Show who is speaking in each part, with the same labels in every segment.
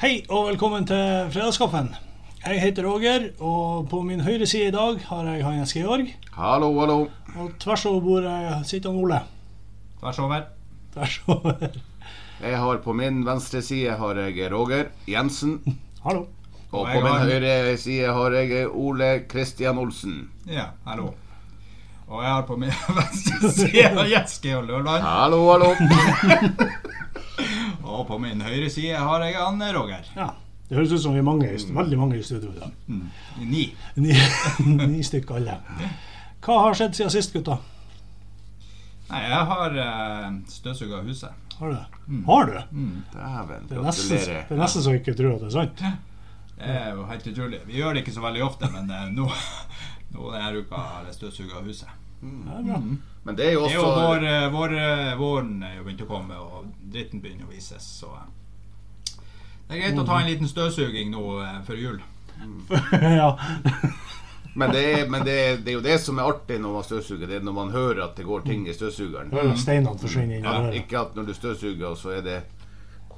Speaker 1: Hei og velkommen til Fredagskaffen. Jeg heter Roger, og på min høyre side i dag har jeg Hannes Georg.
Speaker 2: Hallo, hallo.
Speaker 1: Og tvers over bordet sitter han Ole.
Speaker 3: Tvers over.
Speaker 1: Tvers over.
Speaker 2: Jeg har På min venstre side har jeg Roger Jensen.
Speaker 1: Hallo.
Speaker 2: Og
Speaker 3: Og
Speaker 2: på
Speaker 3: jeg
Speaker 2: min
Speaker 3: har-
Speaker 2: høyre side har jeg Ole Kristian Olsen.
Speaker 3: Ja, hallo. Og jeg har på min venstre side Jens Georg Lørland.
Speaker 2: Hallo, hallo.
Speaker 3: Og på min høyre side har jeg han Roger.
Speaker 1: Ja, Det høres ut som vi er mange, veldig mange i studio i dag.
Speaker 3: Ni.
Speaker 1: Ni, ni stykk alle. Hva har skjedd siden sist, gutta?
Speaker 3: Nei, jeg har uh, støvsuga huset.
Speaker 1: Har du det? Har du?
Speaker 2: Dæven,
Speaker 1: Det er nesten,
Speaker 2: Mm. gratulerer.
Speaker 1: det er nesten så jeg ikke tror at det er sant.
Speaker 3: Det er jo helt utrolig. Vi gjør det ikke så veldig ofte, men eh, nå, nå denne uka har jeg støvsuga huset.
Speaker 1: Det er bra.
Speaker 2: Men det er jo
Speaker 3: Det er jo vår,
Speaker 2: også
Speaker 3: eh, vår, eh, våren er jo begynt å komme, og dritten begynner å vises, så eh, det er greit å ta en liten støvsuging nå eh, før jul.
Speaker 1: ja.
Speaker 2: Men, det er, men det, er, det er jo det som er artig når man støvsuger, det er når man hører at det går ting i støvsugeren.
Speaker 1: Hører at Steinene forsvinner inn i
Speaker 2: Ja,
Speaker 1: døra.
Speaker 2: ikke at når du støvsuger, så er det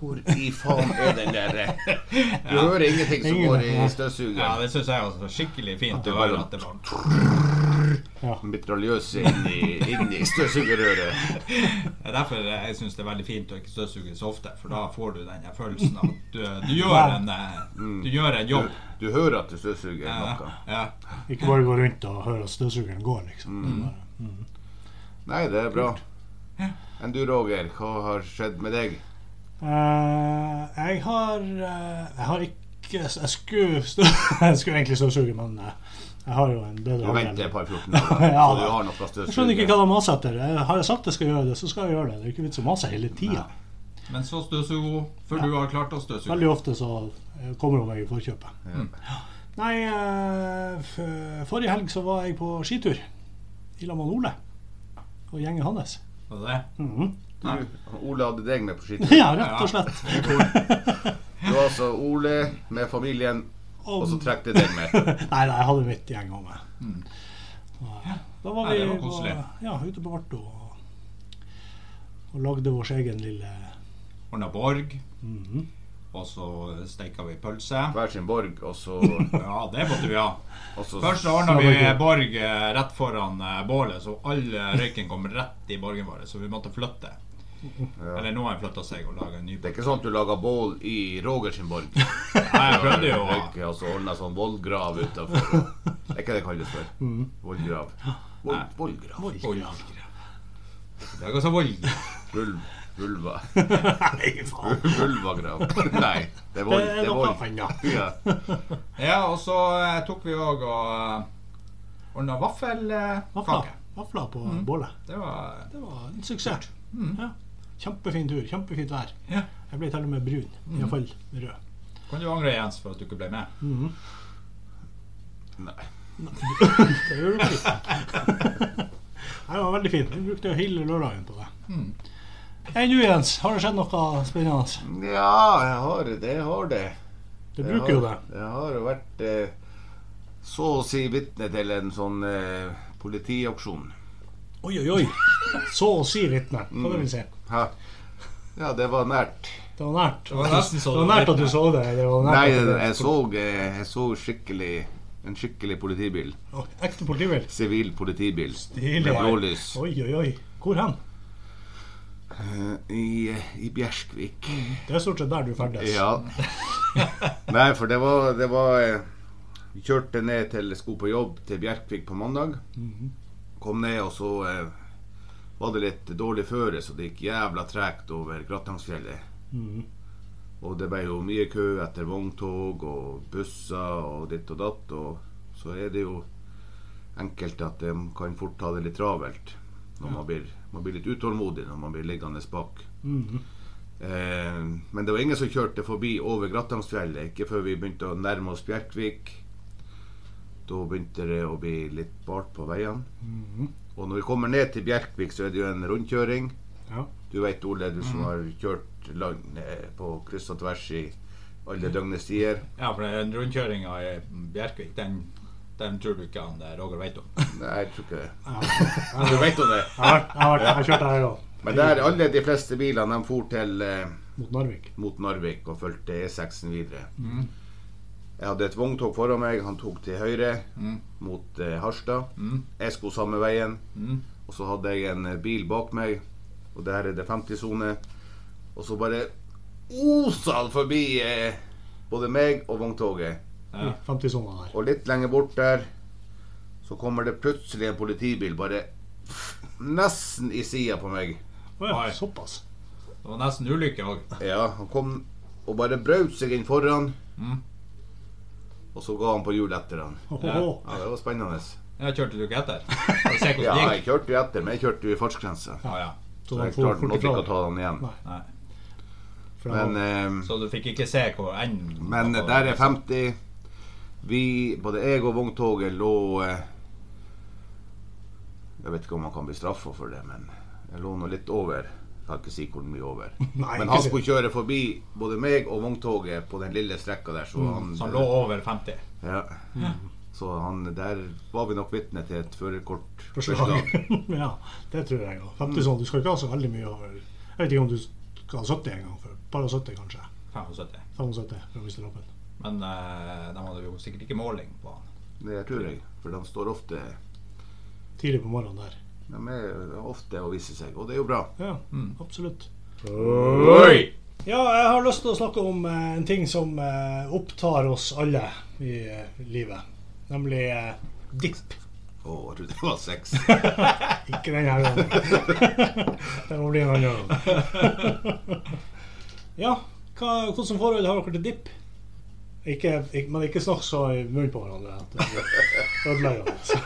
Speaker 2: Hvor i faen er den der Du hører ingenting som
Speaker 1: Ingen-
Speaker 2: går i
Speaker 1: ja.
Speaker 3: Ja,
Speaker 2: støvsugeren.
Speaker 3: det syns jeg også er skikkelig fint
Speaker 2: det
Speaker 3: å
Speaker 2: bare-
Speaker 3: høre at det var
Speaker 2: Mitraljøse inn i, inn i støvsugerrøret.
Speaker 3: Det er derfor jeg syns det er veldig fint å ikke støvsuge så ofte, for da får du den der følelsen av at du, du, gjør, en, eh, du gjør en jobb.
Speaker 2: Du hører at du støvsuger
Speaker 3: Ja,
Speaker 2: noe.
Speaker 3: ja.
Speaker 1: Ikke bare gå rundt og høre at støvsugeren går,
Speaker 2: Mm.
Speaker 1: liksom.
Speaker 2: Nei, det er bra. Enn du, Roger, hva har skjedd med deg?
Speaker 1: Eh, jeg har eh, Jeg har ikke Jeg skulle, stå, jeg skulle egentlig støvsuge, men eh, jeg har jo en bedre
Speaker 2: Du venter
Speaker 1: halvdel.
Speaker 2: et par 14 dager,
Speaker 1: Ja,
Speaker 2: så du
Speaker 1: da.
Speaker 2: har noe å
Speaker 1: Jeg skjønner ikke
Speaker 2: støvsuge.
Speaker 1: hva de maser etter. Jeg har jeg sagt jeg skal gjøre det, så skal jeg gjøre det. Det er ikke vits å mase hele tida.
Speaker 3: Men så støvsuger hun før du har klart å støvsuge.
Speaker 1: Veldig ofte så eh, kommer hun meg i forkjøpet. Ja. Nei, eh, f- forrige helg så var jeg på skitur i lag med Ole og gjengen hans.
Speaker 3: Og det,
Speaker 1: Mhm.
Speaker 2: Du, Ole hadde deg med på skitur.
Speaker 1: Ja, rett og slett.
Speaker 2: Du var altså Ole med familien, og så trakk det deg med.
Speaker 1: Nei, nei, jeg hadde mitt gjeng om meg. Da var
Speaker 3: Nei,
Speaker 1: vi
Speaker 3: det var
Speaker 1: på-
Speaker 3: koselig.
Speaker 1: ja, ute på Varto og, og lagde vår egen lille
Speaker 3: ordna borg, og så steika vi pølse.
Speaker 2: Hver sin borg, og så,
Speaker 3: Ja, det måtte vi ha.
Speaker 2: og så
Speaker 3: Først ordna vi borg eh, rett foran eh, bålet, så all eh, røyken kom rett i borgen vår, så vi måtte flytte. Eller nå har jeg flytta seg og laga en ny
Speaker 2: Det er ikke sånn at du lager bål i Roger sin borg.
Speaker 3: Nei, jeg prøvde jo å
Speaker 2: Ikke, og så ordna sånn vollgrav utafor. Er ikke det det kalles for?
Speaker 1: Mm.
Speaker 2: Vollgrav. Voll- Vollgrav.
Speaker 3: Voldgrav. Det er ganske voldgrav.
Speaker 2: Vulv- Vulva.
Speaker 1: Nei, faen.
Speaker 2: Vulvagrav. Nei, det er vold.
Speaker 1: Det er
Speaker 2: Det er
Speaker 1: noe
Speaker 2: vold.
Speaker 1: annet.
Speaker 2: Ja.
Speaker 3: Ja, og så eh, tok vi òg og eh, ordna vaffelkake.
Speaker 1: Vafler, vafler på bålet.
Speaker 3: Det var mm.
Speaker 1: Det var en suksess. Ja. Kjempefin tur. Kjempefint vær.
Speaker 3: Ja.
Speaker 1: Jeg ble til og med brun. Iallfall rød.
Speaker 3: Kan du angre, Jens, for at du ikke ble med?
Speaker 2: Mhm. Nei.
Speaker 1: Det gjør du ikke. Nei, Det var veldig fint. Vi brukte jo hele lørdagen på det. Hei, du Jens. Har det skjedd noe spennende?
Speaker 2: Ja, jeg har det. Jeg har det.
Speaker 1: Du
Speaker 2: Jeg
Speaker 1: bruker jo det.
Speaker 2: har- Jeg har jo vært eh, så å si vitne til en sånn eh, politiaksjon.
Speaker 1: Oi, oi, oi. Så å si vitne.
Speaker 2: Mhm.
Speaker 1: Hva det vil si?
Speaker 2: Hæ? Ja, det var nært.
Speaker 1: Det var nært.
Speaker 3: Det var nesten
Speaker 1: Det
Speaker 3: så
Speaker 1: var
Speaker 3: det var
Speaker 1: nært at du
Speaker 3: vitne.
Speaker 1: så det. det var nært
Speaker 2: Nei,
Speaker 1: at du-
Speaker 2: jeg så, eh, jeg så skikkelig en skikkelig politibil.
Speaker 1: Å, Ekte politibil.
Speaker 2: Sivil politibil
Speaker 1: Stilig.
Speaker 2: med blålys
Speaker 1: Oi, oi, oi. Hvor hen?
Speaker 2: eh, i, i Bjerskvik.
Speaker 1: Det er stort sett der du ferdes.
Speaker 2: Ja. Nei, for det var, det var eh, Vi kjørte ned til sko på jobb til Bjerkvik på mandag.
Speaker 1: Mhm.
Speaker 2: Kom ned, og så eh, var det litt dårlig føre, så det gikk jævla tregt over Grattangsfjellet.
Speaker 1: Mhm.
Speaker 2: Og det ble jo mye kø etter vogntog og busser og ditt og datt, og så er det jo enkelte at de kan fort ha det litt travelt. Når man blir, man blir litt utålmodig når man blir liggende bak.
Speaker 1: Mhm.
Speaker 2: Eh, men det var ingen som kjørte forbi over Grattangsfjellet. Ikke før vi begynte å nærme oss Bjerkvik. Da begynte det å bli litt bart på veiene.
Speaker 1: Mhm.
Speaker 2: Og når vi kommer ned til Bjerkvik, så er det jo en rundkjøring.
Speaker 1: Ja.
Speaker 2: Du vet, Ole, du som har kjørt land eh, på kryss og tvers i alle døgnets tider.
Speaker 3: Ja, for den rundkjøringa i Bjerkvik, den, den tror du ikke han eh, Roger vet om.
Speaker 2: Nei, jeg tror ikke det.
Speaker 1: Ja.
Speaker 2: Du vet om det?
Speaker 1: Jeg har, vært- jeg har, vært- jeg har kjørt der òg.
Speaker 2: Men der alle de fleste bilene de for til eh,
Speaker 1: mot Narvik.
Speaker 2: mot Narvik og fulgte E6-en videre. Jeg hadde et vogntog foran meg. Han tok til høyre mot eh, Harstad.
Speaker 3: Mm,
Speaker 2: Jeg skulle samme veien. Og så hadde jeg en eh, bil bak meg, og der er det 50-sone. Og så bare osa han forbi eh, både meg og vogntoget.
Speaker 1: I 50-sona der.
Speaker 2: Og litt lenger bort der så kommer det plutselig en politibil bare nesten i sida på meg.
Speaker 1: Å ja,
Speaker 3: Oi.
Speaker 1: såpass.
Speaker 3: Det var nesten ulykke òg.
Speaker 2: Ja, han kom og bare braut seg inn foran.
Speaker 3: Mm.
Speaker 2: Og så ga han på hjul etter han.
Speaker 1: Ohoho.
Speaker 2: Ja, det var spennende.
Speaker 3: Jeg kjørte du ikke etter? Skal vi se
Speaker 2: Ja,
Speaker 3: hvordan det
Speaker 2: jeg
Speaker 3: gikk?
Speaker 2: kjørte jo etter, men jeg kjørte jo i fartsgrensa.
Speaker 3: Ja, ja.
Speaker 1: Så
Speaker 2: Så
Speaker 1: de
Speaker 2: jeg
Speaker 1: for
Speaker 2: klarte
Speaker 1: fort
Speaker 2: nok ikke å
Speaker 1: ifra.
Speaker 2: ta den igjen.
Speaker 1: Nei.
Speaker 3: Nei.
Speaker 1: For
Speaker 2: Men,
Speaker 1: de var-
Speaker 2: eh,
Speaker 3: Så du fikk ikke se hvor altså, enden
Speaker 2: men
Speaker 3: var på-
Speaker 2: der er 50. Vi, både jeg og vogntoget lå eh, Jeg vet ikke om man kan bli straffa for det, men jeg lå nå litt over. Jeg kan ikke si hvor mye over.
Speaker 1: Nei,
Speaker 2: men
Speaker 1: ikke
Speaker 2: han
Speaker 1: si-
Speaker 2: skulle kjøre forbi både meg og vogntoget på den lille strekka der, så han,
Speaker 3: Som lå over 50.
Speaker 2: Ja. Så han, der var vi nok vitne til et førerkortforslag.
Speaker 1: forslag. ja, det tror jeg òg. 50 sånn, du skal ikke ha så veldig mye over Jeg vet ikke om du skal ha 70 en gang. For, bare 70, kanskje.
Speaker 3: 75.
Speaker 1: 75 for å miste lappen.
Speaker 3: Men eh, de hadde jo sikkert ikke måling på han.
Speaker 2: Det tror jeg, for de står ofte
Speaker 1: Tidlig på morgenen der.
Speaker 2: De er ofte å vise seg, og det er jo bra.
Speaker 1: Ja, absolutt.
Speaker 3: Oi!
Speaker 1: Ja, jeg har lyst til å snakke om eh, en ting som eh, opptar oss alle i eh, livet. Nemlig eh, dipp.
Speaker 2: Å, jeg trodde det var sex.
Speaker 1: Ikke den her gangen. det må bli en annen gang. ja, hva, hvordan forhold har dere til dipp? Ikke, ikke, men ikke snakk så i munnen på hverandre at det er ødeleggende.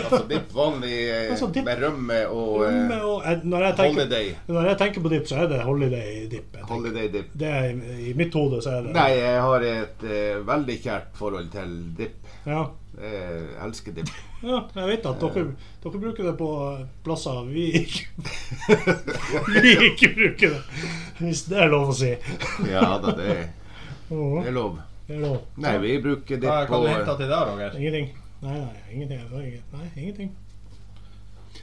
Speaker 2: altså dipp vanlig eh,
Speaker 1: Altså, dipp-
Speaker 2: med rømme og
Speaker 1: Men,
Speaker 2: eh,
Speaker 1: og, eh, Når jeg tenker,
Speaker 2: holiday.
Speaker 1: når jeg tenker på dipp, så er det holiday dipp. jeg tenker.
Speaker 2: Holiday dip.
Speaker 1: Det er, I mitt hode så er det
Speaker 2: Nei, jeg har et eh, veldig kjært forhold til dipp.
Speaker 1: Ja.
Speaker 2: Jeg elsker dipp.
Speaker 1: Ja, jeg vet at dere,
Speaker 2: Eh.
Speaker 1: dere bruker det på eh, plasser vi ikke, vi ikke bruker det. Hvis det er lov å si.
Speaker 2: Ja da, det, er-
Speaker 1: Åh,
Speaker 2: det er lov.
Speaker 1: Det er lov.
Speaker 2: Nei, vi bruker
Speaker 3: Hva
Speaker 2: dipp
Speaker 3: kan
Speaker 2: på
Speaker 3: du hente til der, Roger?
Speaker 1: Ingenting. Nei, nei, ingenting. Det var ikke- Nei, ingenting.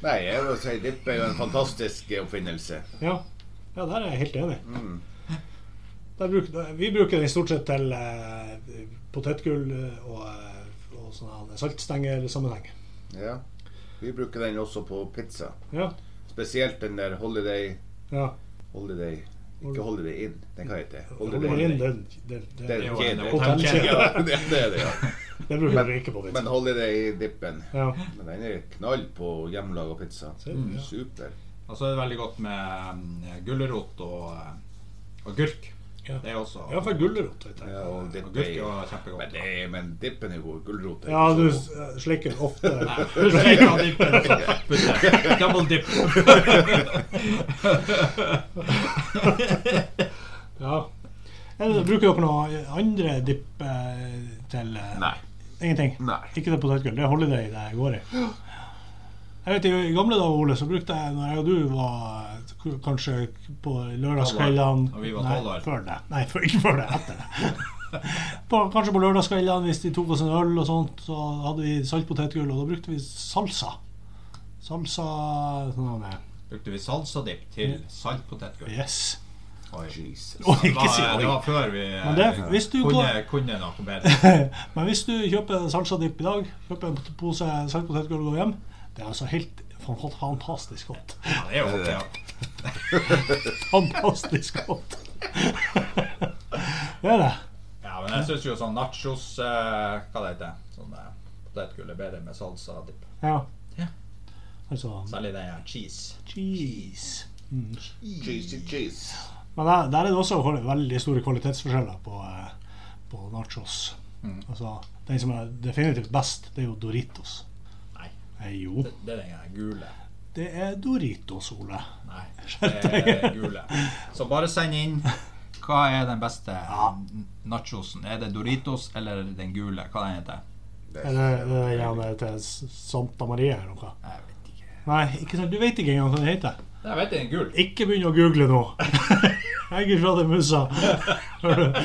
Speaker 2: Nei, jeg vil si dipp er jo en fantastisk oppfinnelse. Mm,
Speaker 1: Ja, ja der er jeg helt enig. Der bruk, vi bruker den stort sett til eh, potetgull og, eh, og sånn saltstengersammenheng.
Speaker 2: Ja. Vi bruker den også på pizza.
Speaker 1: Ja,
Speaker 2: Spesielt den der holiday
Speaker 1: ja.
Speaker 2: Holiday Ikke holiday in, den kan hete.
Speaker 1: Holder inn den, den, den,
Speaker 2: Det er
Speaker 1: den,
Speaker 3: Jo,
Speaker 2: en
Speaker 3: en
Speaker 2: kjede.
Speaker 1: hotellkjede.
Speaker 2: Ja, det det er det, ja.
Speaker 1: den bruker vi ikke på pizza.
Speaker 2: Men holiday-dippen
Speaker 1: Ja.
Speaker 2: Men Den er knall på hjemmelaga pizza.
Speaker 1: Ser du, ja.
Speaker 2: Super.
Speaker 3: Og så er det veldig godt med mm, gulrot og eh, agurk.
Speaker 1: Ja.
Speaker 3: Det er også
Speaker 1: Ja, for gulrot, vet jeg.
Speaker 2: Ja, og dipp
Speaker 3: Agurk er
Speaker 2: er
Speaker 3: jo
Speaker 2: men,
Speaker 3: kjempegodt.
Speaker 2: det er, men dippen er god. Gulrot er
Speaker 1: Ja,
Speaker 2: ikke
Speaker 1: du
Speaker 2: så god.
Speaker 1: s- eh, slikker ofte.
Speaker 3: Ja, dippen, altså. Putte. Double dip.
Speaker 1: Ja. Eller, bruker dere noe andre dipp eh, til eh,
Speaker 2: Nei.
Speaker 1: Ingenting?
Speaker 2: Nei.
Speaker 1: Ikke til potetgull? Det er holiday det går i. Jeg vet, I i gamle dager Ole, så brukte jeg, når jeg og du var k- kanskje på lørdagskveldene
Speaker 3: Når vi var tolv
Speaker 1: Nei,
Speaker 3: år.
Speaker 1: før det. Nei, før, ikke før det. Etter det. På, kanskje på lørdagskveldene, hvis de tok oss en øl og sånt, så hadde vi saltpotetgull, og da brukte vi salsa. Salsa sånn er det.
Speaker 3: Brukte vi salsadipp til saltpotetgull?
Speaker 1: Yes.
Speaker 2: Jesus.
Speaker 1: Oi,
Speaker 3: Det
Speaker 1: ikke si
Speaker 3: var, det
Speaker 1: oi.
Speaker 3: var før vi eh,
Speaker 1: Men det- hvis du
Speaker 3: kunne,
Speaker 1: går-
Speaker 3: kunne noe bedre.
Speaker 1: Men hvis du kjøper salsadipp i dag, kjøper en pose saltpotetgull og går hjem, det er altså helt fan- fantastisk godt.
Speaker 3: Ja, det er jo ok, ja.
Speaker 1: Fantastisk godt. Det er det.
Speaker 3: ja, men jeg syns jo sånn nachos eh, Hva det heter sånn, eh, Potetgull er bedre med salsadipp.
Speaker 1: Ja.
Speaker 3: Ja.
Speaker 1: Altså
Speaker 3: Særlig den her cheese.
Speaker 1: cheese.
Speaker 2: Cheesy cheese.
Speaker 1: Men der, der er det også kval- veldig store kvalitetsforskjeller på, eh, på nachos. Altså, den som er definitivt best, det er jo Doritos.
Speaker 3: Nei,
Speaker 1: Eh, jo,
Speaker 3: det, det er den her gule.
Speaker 1: det er Doritos, Ole.
Speaker 3: Nei, det er gule. Så bare send inn. Hva er den beste nachosen? Er det Doritos eller den gule? Hva den heter
Speaker 2: Det
Speaker 1: Er det, det er gjerne til S- Santa Maria eller noe?
Speaker 3: Jeg vet ikke.
Speaker 1: Nei, ikke sant? du vet ikke engang hva den heter.
Speaker 3: Jeg vet det er en gul.
Speaker 1: Ikke begynn å google nå. Jeg er fra det musa. Hører du?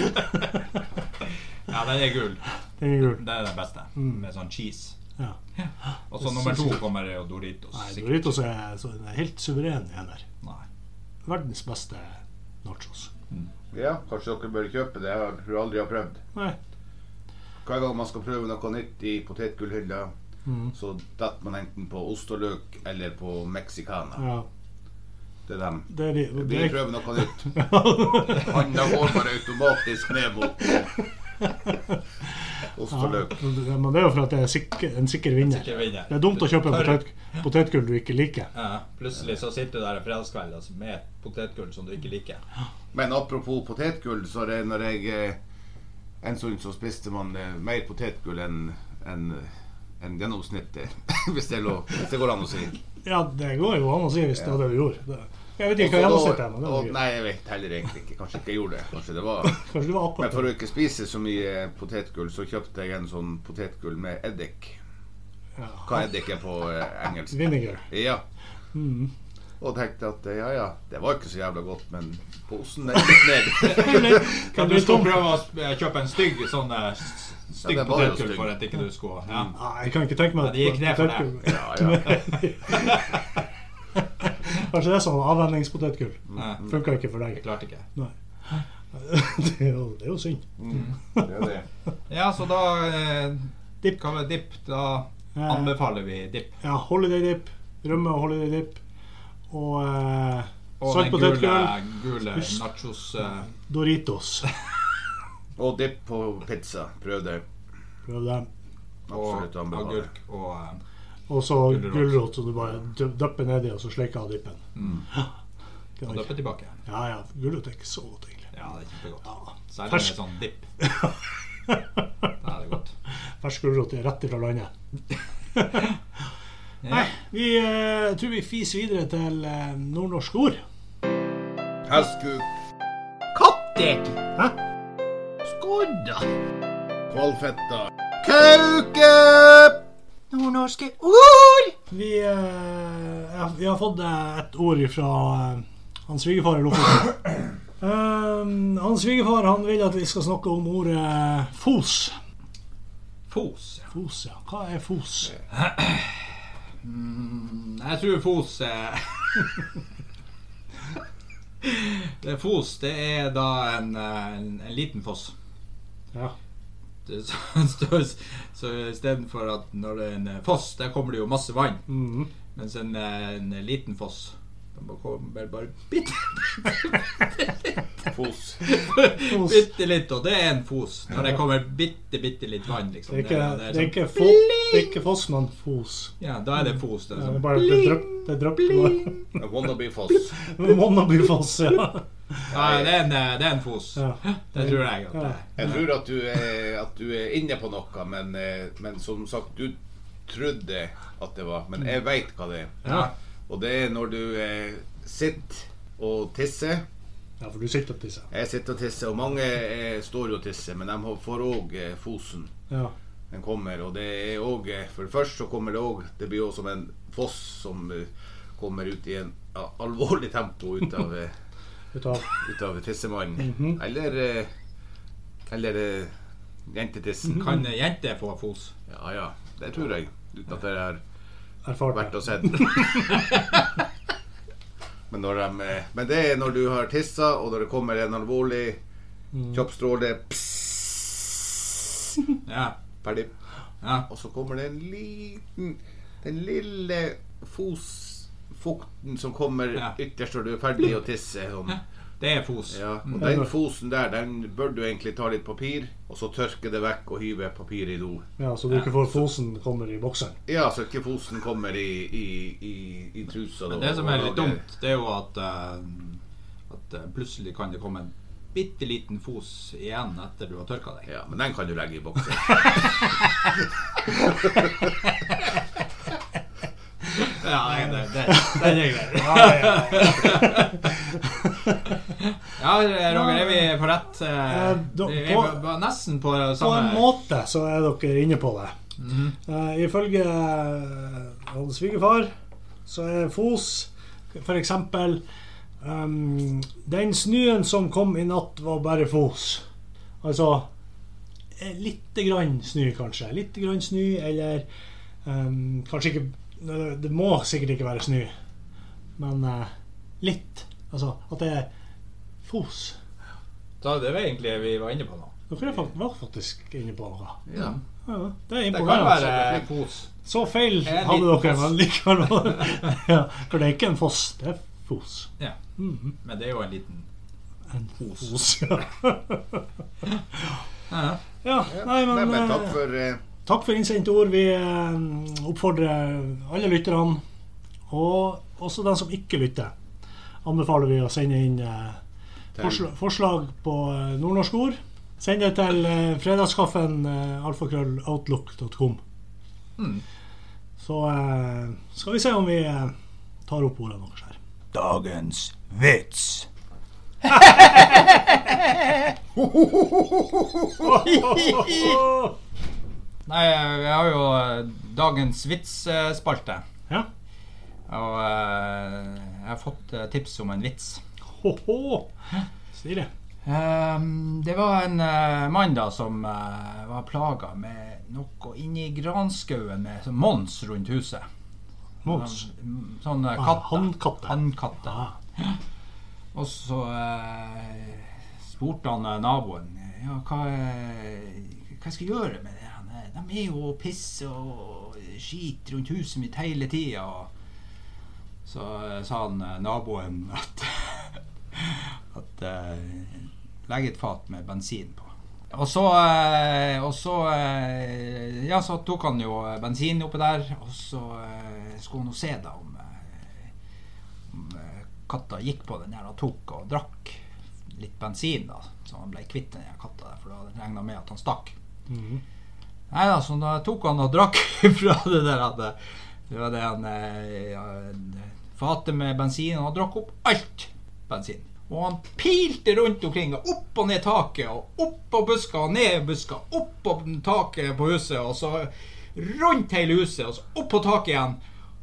Speaker 3: Ja, den er gul.
Speaker 1: Den er gul.
Speaker 3: Det er den beste. Med sånn cheese.
Speaker 1: Mm. Ja.
Speaker 3: Og så nummer to kommer jo Doritos.
Speaker 1: Nei,
Speaker 3: sikkert.
Speaker 1: Doritos er så den er helt suveren i den der.
Speaker 3: Nei.
Speaker 1: Verdens beste nachos.
Speaker 2: Ja, kanskje dere bør kjøpe det. Jeg tror aldri jeg har prøvd.
Speaker 1: Nei.
Speaker 2: Hver gang man skal prøve noe nytt i potetgullhylla,
Speaker 1: Mhm.
Speaker 2: så detter man enten på ost og løk eller på mexicana.
Speaker 1: Ja.
Speaker 2: Det er dem.
Speaker 1: Det er de.
Speaker 2: Jeg
Speaker 1: Det
Speaker 2: vil
Speaker 1: er,
Speaker 2: prøve noe nytt. Handa går bare automatisk ned mot ost og løk.
Speaker 1: ja, men det er jo for at det er sikker, en sikker vinner.
Speaker 3: Sikker vinner.
Speaker 1: Det er dumt å kjøpe
Speaker 3: Tørr.
Speaker 1: potet, potetgull du ikke liker.
Speaker 3: Ja, plutselig så sitter du der en fredagskveld altså, med et potetgull som du ikke liker.
Speaker 2: Men apropos potetgull, så er det når jeg eh, En stund så spiste man eh, mer potetgull enn enn- enn gjennomsnittet, hvis det, er lov, hvis det går an å si.
Speaker 1: Ja, det går jo an å si hvis det var det du gjorde. Det. Jeg vet ikke hva
Speaker 2: Og
Speaker 1: jeg
Speaker 2: da-
Speaker 1: sitter med. Det
Speaker 2: og-
Speaker 1: var gøy.
Speaker 2: nei, jeg vet heller egentlig ikke. Kanskje ikke jeg gjorde det. Kanskje det var
Speaker 1: Kanskje det var
Speaker 2: Men
Speaker 1: akkurat
Speaker 2: for
Speaker 1: det.
Speaker 2: å ikke spise så mye potetgull, så kjøpte jeg en sånn potetgull med eddik.
Speaker 1: Ja.
Speaker 2: Hva eddik er på eh, engelsk?
Speaker 1: Vinegar.
Speaker 2: Ja.
Speaker 1: Mm.
Speaker 2: Og tenkte at eh, ja ja, det var ikke så jævla godt, men posen den gikk ned.
Speaker 1: Kan
Speaker 3: Kan
Speaker 1: du tom?
Speaker 3: du skulle prøve å sp- kjøpe en stygg sånn eh, s- stygg
Speaker 2: Ja, det var jo
Speaker 3: potetgull
Speaker 2: stygg. Mm.
Speaker 3: for at ikke du skulle ja.
Speaker 1: Nei, jeg kan ikke tenke meg
Speaker 3: Ja, det gikk ned for deg.
Speaker 1: potetgull-
Speaker 2: Ja, ja.
Speaker 1: Kanskje det er sånn avvenningspotetgull.
Speaker 2: Mm.
Speaker 3: Nei,
Speaker 1: Funka ikke for
Speaker 3: Eh, jeg
Speaker 1: deg.
Speaker 3: klarte ikke.
Speaker 1: Det er jo, det er jo synd.
Speaker 2: Det er det.
Speaker 3: Ja, så da eh,
Speaker 1: Dipp.
Speaker 3: Kan vi dipp? Da
Speaker 1: Ja.
Speaker 3: anbefaler vi dipp.
Speaker 1: Eh, Ja, holiday dip. Rømme og holiday dip. Og eh,
Speaker 3: Og
Speaker 1: salt
Speaker 3: den gule,
Speaker 1: potetgull.
Speaker 3: gule
Speaker 1: Husk.
Speaker 3: nachos eh,
Speaker 1: Doritos.
Speaker 2: Og dipp på pizza. Prøv det.
Speaker 1: Prøv den.
Speaker 2: Absolutt
Speaker 3: og
Speaker 2: anbefaler.
Speaker 3: agurk og eh,
Speaker 1: Og så
Speaker 3: Gulrot.
Speaker 1: gulrot, så du bare dø- dypper nedi, og så slikker av dippen. Ja,
Speaker 3: Mm. og
Speaker 1: kan
Speaker 3: døppe
Speaker 1: ikke-
Speaker 3: tilbake.
Speaker 1: ja, ja. Gulrot er ikke så godt, egentlig.
Speaker 3: Ja, det er kjempegodt.
Speaker 1: Ja.
Speaker 3: Særlig
Speaker 1: Fersk.
Speaker 3: med sånn dipp. Da er det godt.
Speaker 1: Fersk gulrot er rett ifra landet.
Speaker 3: Ja.
Speaker 1: Nei, vi eh, tror vi fiser videre til eh, nordnorske ord.
Speaker 2: Hestkuk.
Speaker 4: Kattek.
Speaker 1: Hæ?
Speaker 4: Skodda.
Speaker 2: Kvalfetta. Kauke!
Speaker 4: Nordnorske ord.
Speaker 1: Vi, eh, ja, vi har fått eh, et ord fra eh, hans svigerfar i Lofoten. Um, hans svigerfar han vil at vi skal snakke om ordet fos.
Speaker 3: Fos. ja.
Speaker 1: Fos, ja. Hva er fos?
Speaker 3: Mm, Jeg tror Fos eh, det er Fos det er da en, eh, en, en liten foss.
Speaker 1: Ja.
Speaker 3: Det er Så, så, så istedenfor at når det er en eh, foss, der kommer det jo masse vann.
Speaker 1: Mhm.
Speaker 3: Mens en, eh, en liten foss den bare kommer vel bare bitte,
Speaker 2: Fos.
Speaker 1: Fos.
Speaker 3: bitte litt, og det er en fos. Når det kommer bitte, bitte litt vann, liksom.
Speaker 1: Det er ikke,
Speaker 3: det
Speaker 1: det er
Speaker 3: sånn-
Speaker 1: ikke, fo, det er ikke foss, men fos.
Speaker 3: ja, da er det fos. Det
Speaker 1: Ja,
Speaker 3: er
Speaker 1: det
Speaker 3: sånn.
Speaker 1: er bare det drypp- det drypper.
Speaker 2: En Wannabe-foss.
Speaker 1: Monnabyfoss, ja.
Speaker 3: ja, det, er en, eh, det er en fos.
Speaker 1: ja.
Speaker 3: Det tror jeg at det er.
Speaker 2: Jeg tror at du er, at du er inne på noe, men, eh, men som sagt, du trodde at det var Men jeg veit hva det er.
Speaker 1: Ja.
Speaker 2: Og det er når du eh, sitter og tisser.
Speaker 1: Ja, for du sitter og tisser.
Speaker 2: Jeg sitter og tisser, og mange eh, står jo og tisser, men de har- får òg eh, fosen.
Speaker 1: Ja.
Speaker 2: Den kommer, og det er òg eh, For først så kommer det òg Det blir jo som en foss som eh, kommer ut i en ja, alvorlig tempo ut av, eh,
Speaker 1: Ut av
Speaker 2: ut av tissemannen. Eller eh, Eller eh, jentetissen.
Speaker 3: Kan jenter få fos?
Speaker 2: Ja ja, det tror jeg. Uten at jeg har vært
Speaker 1: erfarte.
Speaker 2: og sett. Men, når de, eh, men det er når du har tissa, og når det kommer en alvorlig kjappstråle pss,
Speaker 3: Ja.
Speaker 2: Ferdig.
Speaker 3: ja.
Speaker 2: Og så kommer det en liten Den lille fosfukten som kommer
Speaker 3: Ja.
Speaker 2: ytterst når du er ferdig å tisse. Sånn.
Speaker 3: Det er fos.
Speaker 2: Ja, og den fosen der, den bør du egentlig ta litt papir, og så tørke det vekk og hyve papiret i do.
Speaker 1: Ja, så du ikke får fosen kommer i bokseren.
Speaker 2: Ja, så ikke fosen kommer i, i, i, i trusa. da,
Speaker 3: Men det som er
Speaker 2: og
Speaker 3: litt
Speaker 2: lager-
Speaker 3: dumt, det er jo at, eh, at eh, plutselig kan det komme en bitte liten fos igjen etter du har tørka deg.
Speaker 2: Ja, men den kan du legge i boksen.
Speaker 3: Ja, nei, det, det, det er greit. Ja, Roger, er vi på rett? eh,
Speaker 1: Eh, da-
Speaker 3: Vi er
Speaker 1: på-
Speaker 3: på- på- nesten på
Speaker 1: På en
Speaker 3: samme Mhm.
Speaker 1: måte så er dere inne på det. Eh, ifølge eh, hans svigerfar så er Fos for eksempel ehm, Den snøen som kom i natt, var bare Fos. Altså eh, lite grann snø, kanskje. Lite grann snø, eller ehm, kanskje ikke nei, det- Det må sikkert ikke være snø, men eh, litt. Altså at det er Fos.
Speaker 3: Da, det var egentlig vi var inne på nå.
Speaker 1: Dere er fakt- var faktisk inne på noe.
Speaker 2: Ja.
Speaker 1: Ja, det er
Speaker 3: Det kan
Speaker 1: imponerende.
Speaker 3: være kos.
Speaker 1: Så feil
Speaker 3: er en
Speaker 1: hadde
Speaker 3: liten
Speaker 1: dere,
Speaker 3: foss.
Speaker 1: men likevel ja, For det er ikke en foss, det er fos.
Speaker 3: Ja.
Speaker 1: Mhm.
Speaker 3: Men det er jo en liten
Speaker 1: En fos, ja.
Speaker 3: Ja.
Speaker 1: ja nei,
Speaker 2: Nei,
Speaker 1: men
Speaker 2: men takk
Speaker 1: eh,
Speaker 2: for eh,
Speaker 1: Takk for innsendte ord. Vi eh, oppfordrer alle lytterne, og også de som ikke lytter, anbefaler vi å sende inn eh,
Speaker 2: til-
Speaker 1: forslag, forslag på eh, nordnorske ord. Send det til eh, fredagskaffen eh, alfakrølloutlook.com.
Speaker 3: Mm.
Speaker 1: Så eh, skal vi se om vi eh, tar opp ordene deres her.
Speaker 3: Dagens vits. Nei, vi har jo eh, dagens vits-spalte.
Speaker 1: Ja.
Speaker 3: Og eh, jeg har fått eh, tips om en vits.
Speaker 1: Ho-ho! Stilig.
Speaker 3: Ehm, det var en eh, mann da som eh, var plaga med noe inni granskauen med sånn mons rundt huset.
Speaker 1: Mons.
Speaker 3: Mm, Sånn eh,
Speaker 1: Ah,
Speaker 3: katte.
Speaker 1: hannkatte.
Speaker 3: Hannkatte.
Speaker 1: Ah.
Speaker 3: Og så eh, spurte han eh, naboen ja, hva, eh, hva skal jeg gjøre med det. Han, eh, De er jo og pisser og skiter rundt huset mitt hele tida. Så eh, sa han eh, naboen at, at eh, Legg et fat med bensin på. Og så, eh, og så eh, Ja, så tok han jo bensin oppi der, og så eh, skulle han jo se da om eh, om eh, katta gikk på den her og tok og drakk litt bensin, da, så han ble kvitt den her katta, der, for da regna med at han stakk.
Speaker 1: Mm.
Speaker 3: Nei da, så da tok han og drakk fra det der at det- det var det han eh, ja, Fatet med bensin, og han drakk opp alt bensin. Og han pilte rundt omkring, og opp og ned taket, og opp på buska og ned buska, opp på taket på huset, og så rundt hele huset, og så opp på taket igjen.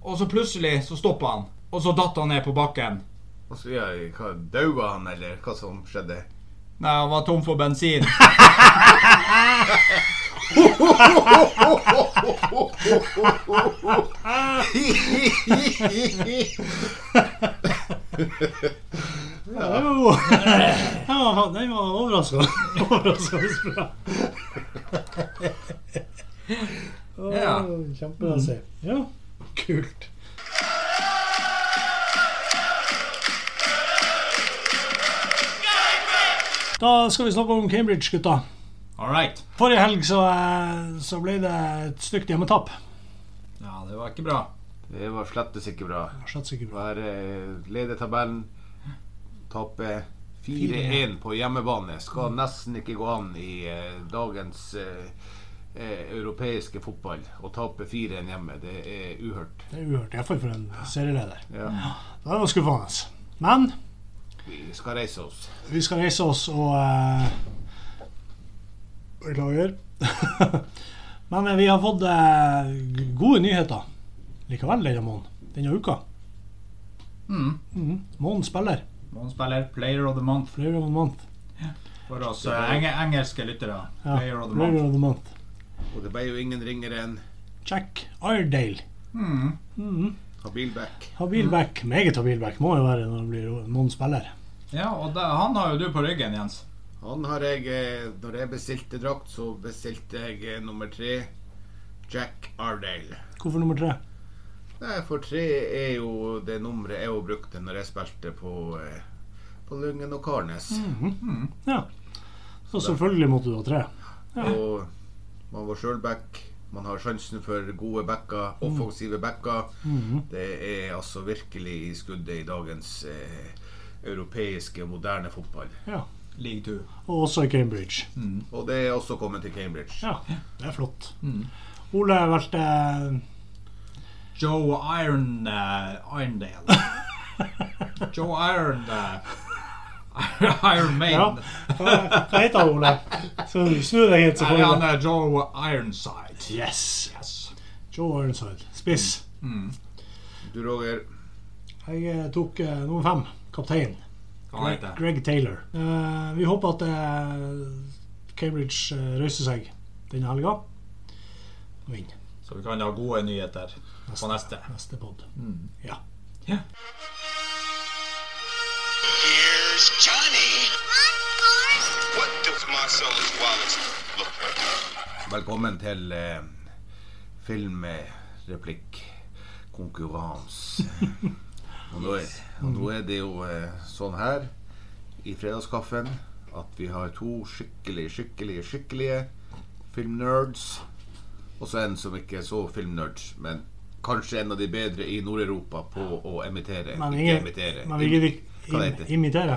Speaker 3: Og så plutselig så stoppa han, og så datt han ned på bakken.
Speaker 2: Altså, ja, hva, Daua han, eller hva som skjedde?
Speaker 3: Nei, han var tom for bensin.
Speaker 1: Ja, det var god. Den var, den var overraskende. overraskende bra. Å,
Speaker 3: Ja.
Speaker 1: Kjempebra å si. Mm. Ja, kult. Da skal vi snakke om Cambridge, gutta.
Speaker 3: All right.
Speaker 1: Forrige helg så, eh, så ble det et stygt hjemmetap.
Speaker 3: Ja, det var ikke bra.
Speaker 2: Det var slettes ikke bra.
Speaker 1: Slett sikkert bra.
Speaker 2: Være eh, leder tabellen, tape 4-1 på hjemmebane. Skal nesten ikke gå an i eh, dagens eh, eh, europeiske fotball. Å tape 4-1 hjemme, det er uhørt.
Speaker 1: Det er uhørt, iallfall for en serieleder.
Speaker 2: Ja.
Speaker 1: Det var skuffende. Men
Speaker 2: Vi skal reise oss.
Speaker 1: Vi skal reise oss og eh, Beklager. Men eh, vi har fått eh, g- gode nyheter likevel denne måneden. Denne uka.
Speaker 3: Mm.
Speaker 1: Mhm. Måneden spiller.
Speaker 3: Noen spiller Player of the Month
Speaker 1: Player of the month.
Speaker 3: for oss eh, eng engelske lyttere.
Speaker 1: Ja,
Speaker 3: Player of the Month.
Speaker 1: of the month.
Speaker 2: Og det ble jo ingen ringere enn
Speaker 1: Jack Iredale.
Speaker 3: Mm.
Speaker 2: Habil Beck.
Speaker 1: Habil back. Meget habil back. Må jo være når det blir måneden spiller.
Speaker 3: Ja, og da, han har jo du på ryggen, Jens.
Speaker 2: Han har jeg eh, Når jeg bestilte drakt, så bestilte jeg eh, nummer tre. Jack Ardale.
Speaker 1: Hvorfor nummer tre?
Speaker 2: Nei, for tre er jo det nummeret jeg jo brukte når jeg spilte på, eh, på Lyngen og Karnes.
Speaker 1: Ja. Så selvfølgelig måtte du ha tre.
Speaker 2: Og man var sjøl back. Man har sjansen for gode backer, offensive backer. Det er altså virkelig i skuddet i dagens eh, europeiske, moderne fotball.
Speaker 1: Ja.
Speaker 3: League 2.
Speaker 1: Og også i Cambridge.
Speaker 2: Og det er også kommet til Cambridge.
Speaker 1: Ja, det er flott.
Speaker 3: Mhm.
Speaker 1: Ole valgte eh,
Speaker 3: Joe Iron eh, Irondale. Joe Iron eh,
Speaker 1: Ja.
Speaker 3: Iron Maiden.
Speaker 1: Hva hva heter han, Ole? Så snu deg hit, så
Speaker 3: Nei,
Speaker 1: får
Speaker 3: han
Speaker 1: vi det.
Speaker 3: er Joe Ironside.
Speaker 1: Yes.
Speaker 3: Yes.
Speaker 1: Joe Ironside. Spiss.
Speaker 2: Du, Roger,
Speaker 1: Jeg eh, tok eh, nummer fem. Kaptein.
Speaker 3: Hva heter det?
Speaker 1: Greg Taylor. Eh, vi håper at eh, Cambridge eh, reiser seg denne helga og vinner
Speaker 3: eh. Så vi kan ha gode nyheter på neste.
Speaker 1: neste pod. Ja.
Speaker 5: Here's Johnny.
Speaker 6: Of course,
Speaker 5: sellers wallets look better.
Speaker 2: Velkommen til eh, filmreplikkkonkurranse. Og, nå er- og nå er det jo eh, sånn her i fredagskaffen at vi har to skikkelig, skikkelig, skikkelige filmnerds. Og så en som ikke er så filmnerds, men kanskje en av de bedre i Nord-Europa på å imitere.
Speaker 1: Men
Speaker 2: ikke
Speaker 1: ingen-
Speaker 2: imitere.
Speaker 1: Man vil ikke
Speaker 2: Hva det
Speaker 1: im-
Speaker 2: heter.
Speaker 1: imitere.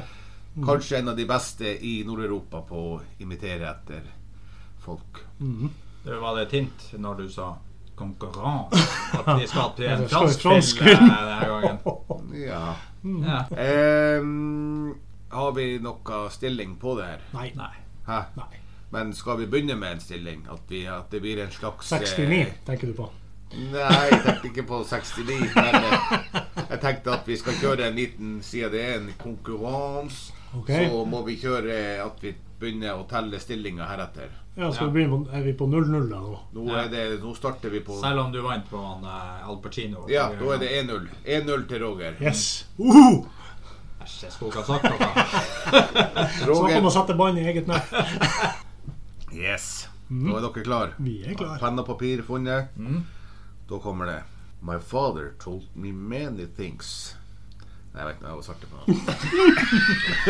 Speaker 2: Kanskje en av de beste i Nord-Europa på å imitere etter folk.
Speaker 3: Det var det tint når du sa konkurranse. At vi skal til en
Speaker 1: Det skal
Speaker 3: fransk
Speaker 1: være fransk
Speaker 3: film
Speaker 1: film.
Speaker 3: eh, denne gangen.
Speaker 2: Ja.
Speaker 3: Ja.
Speaker 2: Ehm, har vi noe stilling på det her?
Speaker 1: Nei.
Speaker 3: Nei.
Speaker 2: Hæ?
Speaker 1: Nei.
Speaker 2: Men skal vi begynne med en stilling? At, vi, at det blir en slags eh,
Speaker 1: 69 tenker du på.
Speaker 2: Nei, jeg tenkte ikke på 69. Men eh, jeg tenkte at vi skal kjøre en liten Siden det er en konkurranse,
Speaker 1: Ok.
Speaker 2: så må vi kjøre at vi begynner å telle stillinger heretter.
Speaker 1: Ja, skal vi begynne på, Er vi på 0-0 da nå?
Speaker 2: Nå, er det, nå starter vi på
Speaker 3: Selv om du vant på han eh, Al Pacino.
Speaker 2: Ja, da er det 1-0. 1-0 til Roger.
Speaker 1: Yes. Uhu!
Speaker 3: Æsj, jeg skulle ikke ha sagt noe.
Speaker 1: Snakk om å
Speaker 2: Roger.
Speaker 1: sette bånd i eget nett.
Speaker 2: Yes. Nå er dere klar
Speaker 1: Mm. Vi er Mm. klare.
Speaker 2: Penn og papir funnet. Da kommer det My father told me many things. Nei, jeg vet ikke hva jeg var svarte på. nå.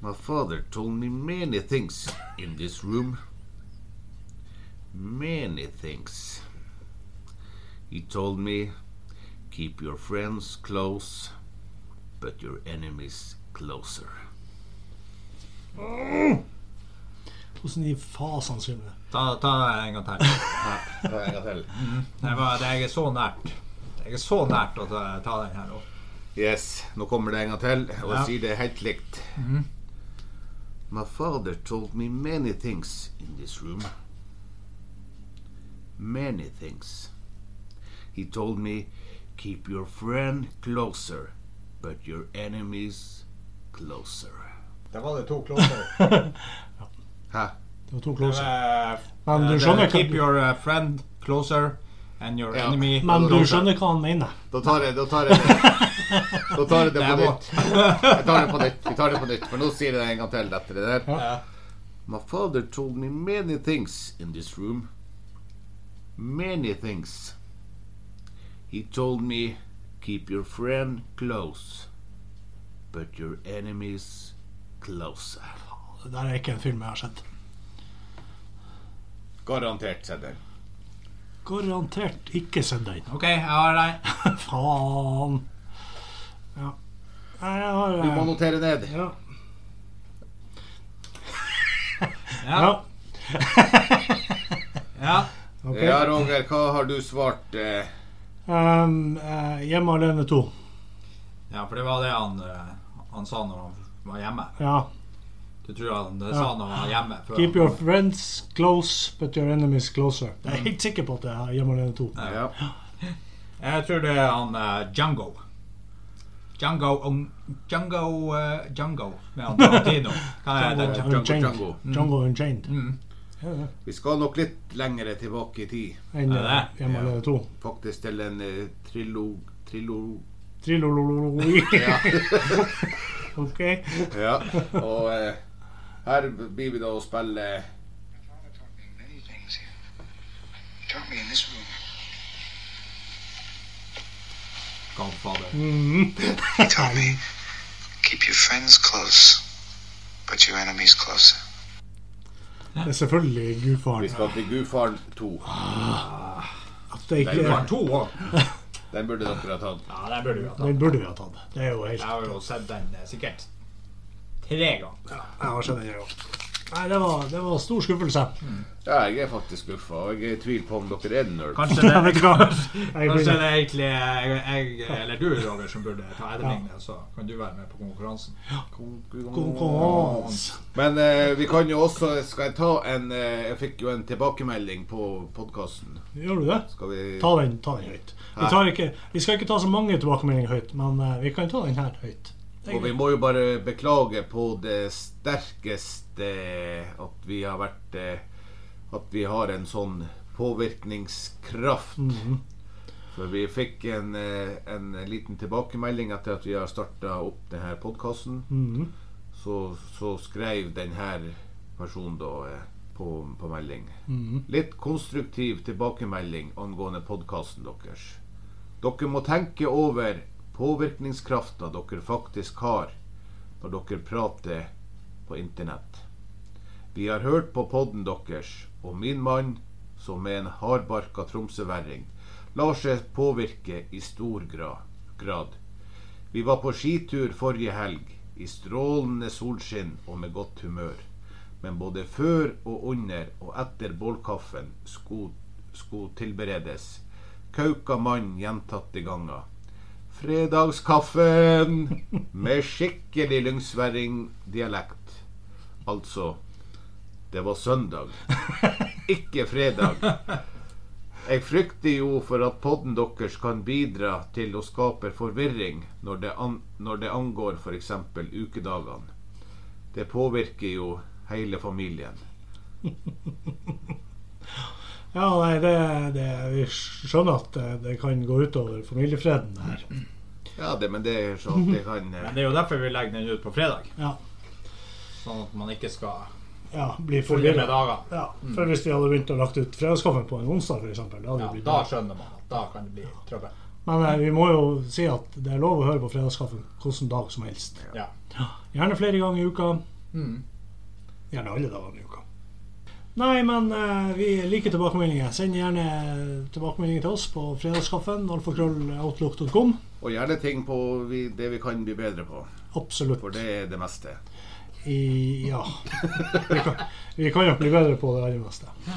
Speaker 2: My father told me many things in this room. Many things. He told me keep your friends close, but your enemies closer.
Speaker 1: Hvordan i fasens film er det?
Speaker 3: Ta, ta en gang til.
Speaker 2: Ja, en gang til.
Speaker 3: Det var, det, jeg er så nært. Jeg er så nært å ta, ta den her òg.
Speaker 2: Yes, nå kommer det en gang til, og jeg
Speaker 3: Ja.
Speaker 2: sier det er helt likt. My father told me many things in this room. Many things. He told me keep your friend closer, but your enemies closer.
Speaker 3: Da var det to klokker.
Speaker 2: Hæ?
Speaker 1: Det var to closer. Men du skjønner
Speaker 3: Keep
Speaker 1: hva,
Speaker 3: your eh, friend closer and your
Speaker 2: Ja.
Speaker 3: enemy
Speaker 1: men du
Speaker 3: closer.
Speaker 1: skjønner hva han mener.
Speaker 2: Da tar jeg, da tar jeg det. Da tar jeg det på
Speaker 3: Det er
Speaker 2: nytt. Jeg tar det på nytt, vi tar det på nytt, for nå sier jeg det en gang til etter det der.
Speaker 3: Ja.
Speaker 2: My father told me many things in this room. Many things. He told me, keep your friend close, but your enemies closer.
Speaker 1: Det der er ikke en film jeg har sett.
Speaker 2: Garantert, Sedder.
Speaker 1: Garantert ikke sett den.
Speaker 3: OK, jeg har deg.
Speaker 1: Faen. Ja. Nei, jeg har
Speaker 2: Du må
Speaker 1: eh,
Speaker 2: notere ned.
Speaker 1: Ja.
Speaker 3: Ja.
Speaker 1: ja.
Speaker 3: ja.
Speaker 1: Ok.
Speaker 2: Ja, Roger, hva har du svart? Eh,
Speaker 1: Um, eh, hjemme alene 2.
Speaker 3: Ja, for det var det han, eh, han sa når han var hjemme.
Speaker 1: Ja.
Speaker 3: Du tror han det sa når han var hjemme? Før
Speaker 1: Keep
Speaker 3: han-
Speaker 1: your friends close, but your enemies closer. Jeg er helt sikker på at det er Hjemme alene 2.
Speaker 2: ja.
Speaker 3: Jeg tror det er han eh, Django. Django um, Django eh, Django med han Tarantino. Hva er det?
Speaker 1: Django
Speaker 3: Django.
Speaker 1: Unchained.
Speaker 2: Django.
Speaker 1: Django Unchained.
Speaker 3: Mm.
Speaker 1: Ja, det
Speaker 2: Vi skal nok litt lengre tilbake i tid.
Speaker 1: er Enn
Speaker 3: Er det?
Speaker 1: eh, Hjemme
Speaker 2: Ja.
Speaker 1: alene 2.
Speaker 2: Faktisk til en eh, trilog... Trilog...
Speaker 1: Trilolololoi.
Speaker 2: Ja.
Speaker 1: Ok.
Speaker 2: ja. Og eh, her blir vi da å spille eh,
Speaker 6: My father taught me many things here. He taught me in this room.
Speaker 1: Mm.
Speaker 3: Godfather.
Speaker 6: He taught me keep your friends close, but your enemies closer.
Speaker 1: Det er selvfølgelig
Speaker 2: Vi
Speaker 1: gudfaren.
Speaker 2: skal til Gudfaren 2.
Speaker 1: At det
Speaker 3: Du
Speaker 1: ikke
Speaker 3: har to òg.
Speaker 2: Den burde dere ha tatt.
Speaker 3: Ja, den burde vi ha tatt.
Speaker 1: Den burde vi ha tatt. Det er jo helt
Speaker 3: Jeg har jo sett den eh, sikkert tre ganger.
Speaker 1: Jeg har sett den en gang. Nei, det var, det var stor skuffelse.
Speaker 2: Ja, jeg er faktisk skuffa, og jeg er i tvil på om dere er nerd.
Speaker 3: Kanskje
Speaker 1: Jeg vet
Speaker 3: det,
Speaker 1: ikke hva.
Speaker 3: kanskje
Speaker 1: Jeg
Speaker 3: det er egentlig jeg, jeg, eller du, Roger, som burde ta etterlignet, så kan du være med på konkurransen.
Speaker 1: Konkurranse.
Speaker 2: Men eh, vi kan jo også Skal jeg ta en eh, Jeg fikk jo en tilbakemelding på podkasten.
Speaker 1: Gjør du det?
Speaker 2: Skal vi
Speaker 1: Ta den, ta den høyt. Vi, tar ikke, vi skal ikke ta så mange tilbakemeldinger høyt, men eh, vi kan ta den her høyt. Det er
Speaker 2: Og vi må jo bare beklage på det sterkeste eh, at vi har vært
Speaker 1: Mhm,
Speaker 2: eh, At vi har en sånn påvirkningskraft. For vi fikk en, eh, en liten tilbakemelding etter at vi har starta opp denne podkasten.
Speaker 1: Mhm.
Speaker 2: Så, så skrev denne personen da eh, på, på melding.
Speaker 1: Mhm.
Speaker 2: Litt konstruktiv tilbakemelding angående podkasten deres. Dere må tenke over påvirkningskrafta dere faktisk har når dere prater på internett. Vi har hørt på podden deres, og min mann, som er en hardbarka tromsøværing, lar seg påvirke i stor gra- grad. Vi var på skitur forrige helg, i strålende solskinn og med godt humør. Men både før og under og etter bålkaffen skulle skulle tilberedes, kauka mannen gjentatte ganger. Fredagskaffen! Med skikkelig lyngsværingdialekt. Altså Det var søndag, ikke fredag. Jeg frykter jo for at podden deres kan bidra til å skape forvirring når det, an når det angår f.eks. ukedagene. Det påvirker jo hele familien.
Speaker 1: Ja, nei, det, det, vi skjønner at det, det kan gå utover familiefreden det her.
Speaker 2: Ja, det, men det er sånn at det kan eh,
Speaker 3: Men det er jo derfor vi legger den ut på fredag.
Speaker 1: Ja.
Speaker 3: Sånn at man ikke skal
Speaker 1: Ja, blir
Speaker 3: følge med
Speaker 1: forvirret.
Speaker 3: dager.
Speaker 1: Ja, for hvis vi hadde begynt å lagt ut fredagskaffen på en onsdag, for eksempel, det hadde
Speaker 3: Ja,
Speaker 1: jo blitt
Speaker 3: da
Speaker 1: bra.
Speaker 3: skjønner man at da kan det bli trøbbel.
Speaker 1: Men eh, vi må jo si at det er lov å høre på fredagskaffen hvilken dag som helst.
Speaker 3: Ja.
Speaker 1: Gjerne flere ganger i uka.
Speaker 3: Mm.
Speaker 1: Gjerne alle dagene i uka. Nei, men eh, vi liker tilbakemeldinger. Send gjerne tilbakemeldinger til oss på fredagskaffen, alfakrølloutlook.com.
Speaker 2: Og gjerne ting på vi, det vi kan bli bedre på.
Speaker 1: Absolutt.
Speaker 2: For det er det meste.
Speaker 1: I, ja. Vi kan, vi kan nok bli bedre på det aller meste. Ja.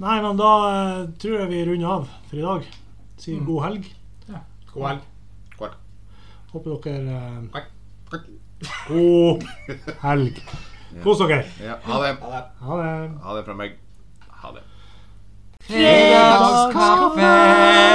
Speaker 1: Nei, men da eh, tror jeg vi runder av for i dag. Sier god helg.
Speaker 3: God helg.
Speaker 1: Håper dere eh,
Speaker 2: Ja,
Speaker 1: God helg. Kos dere.
Speaker 2: ha det.
Speaker 1: Ha det.
Speaker 2: Ha det fra meg. Ha det.
Speaker 4: Fredagskaffe!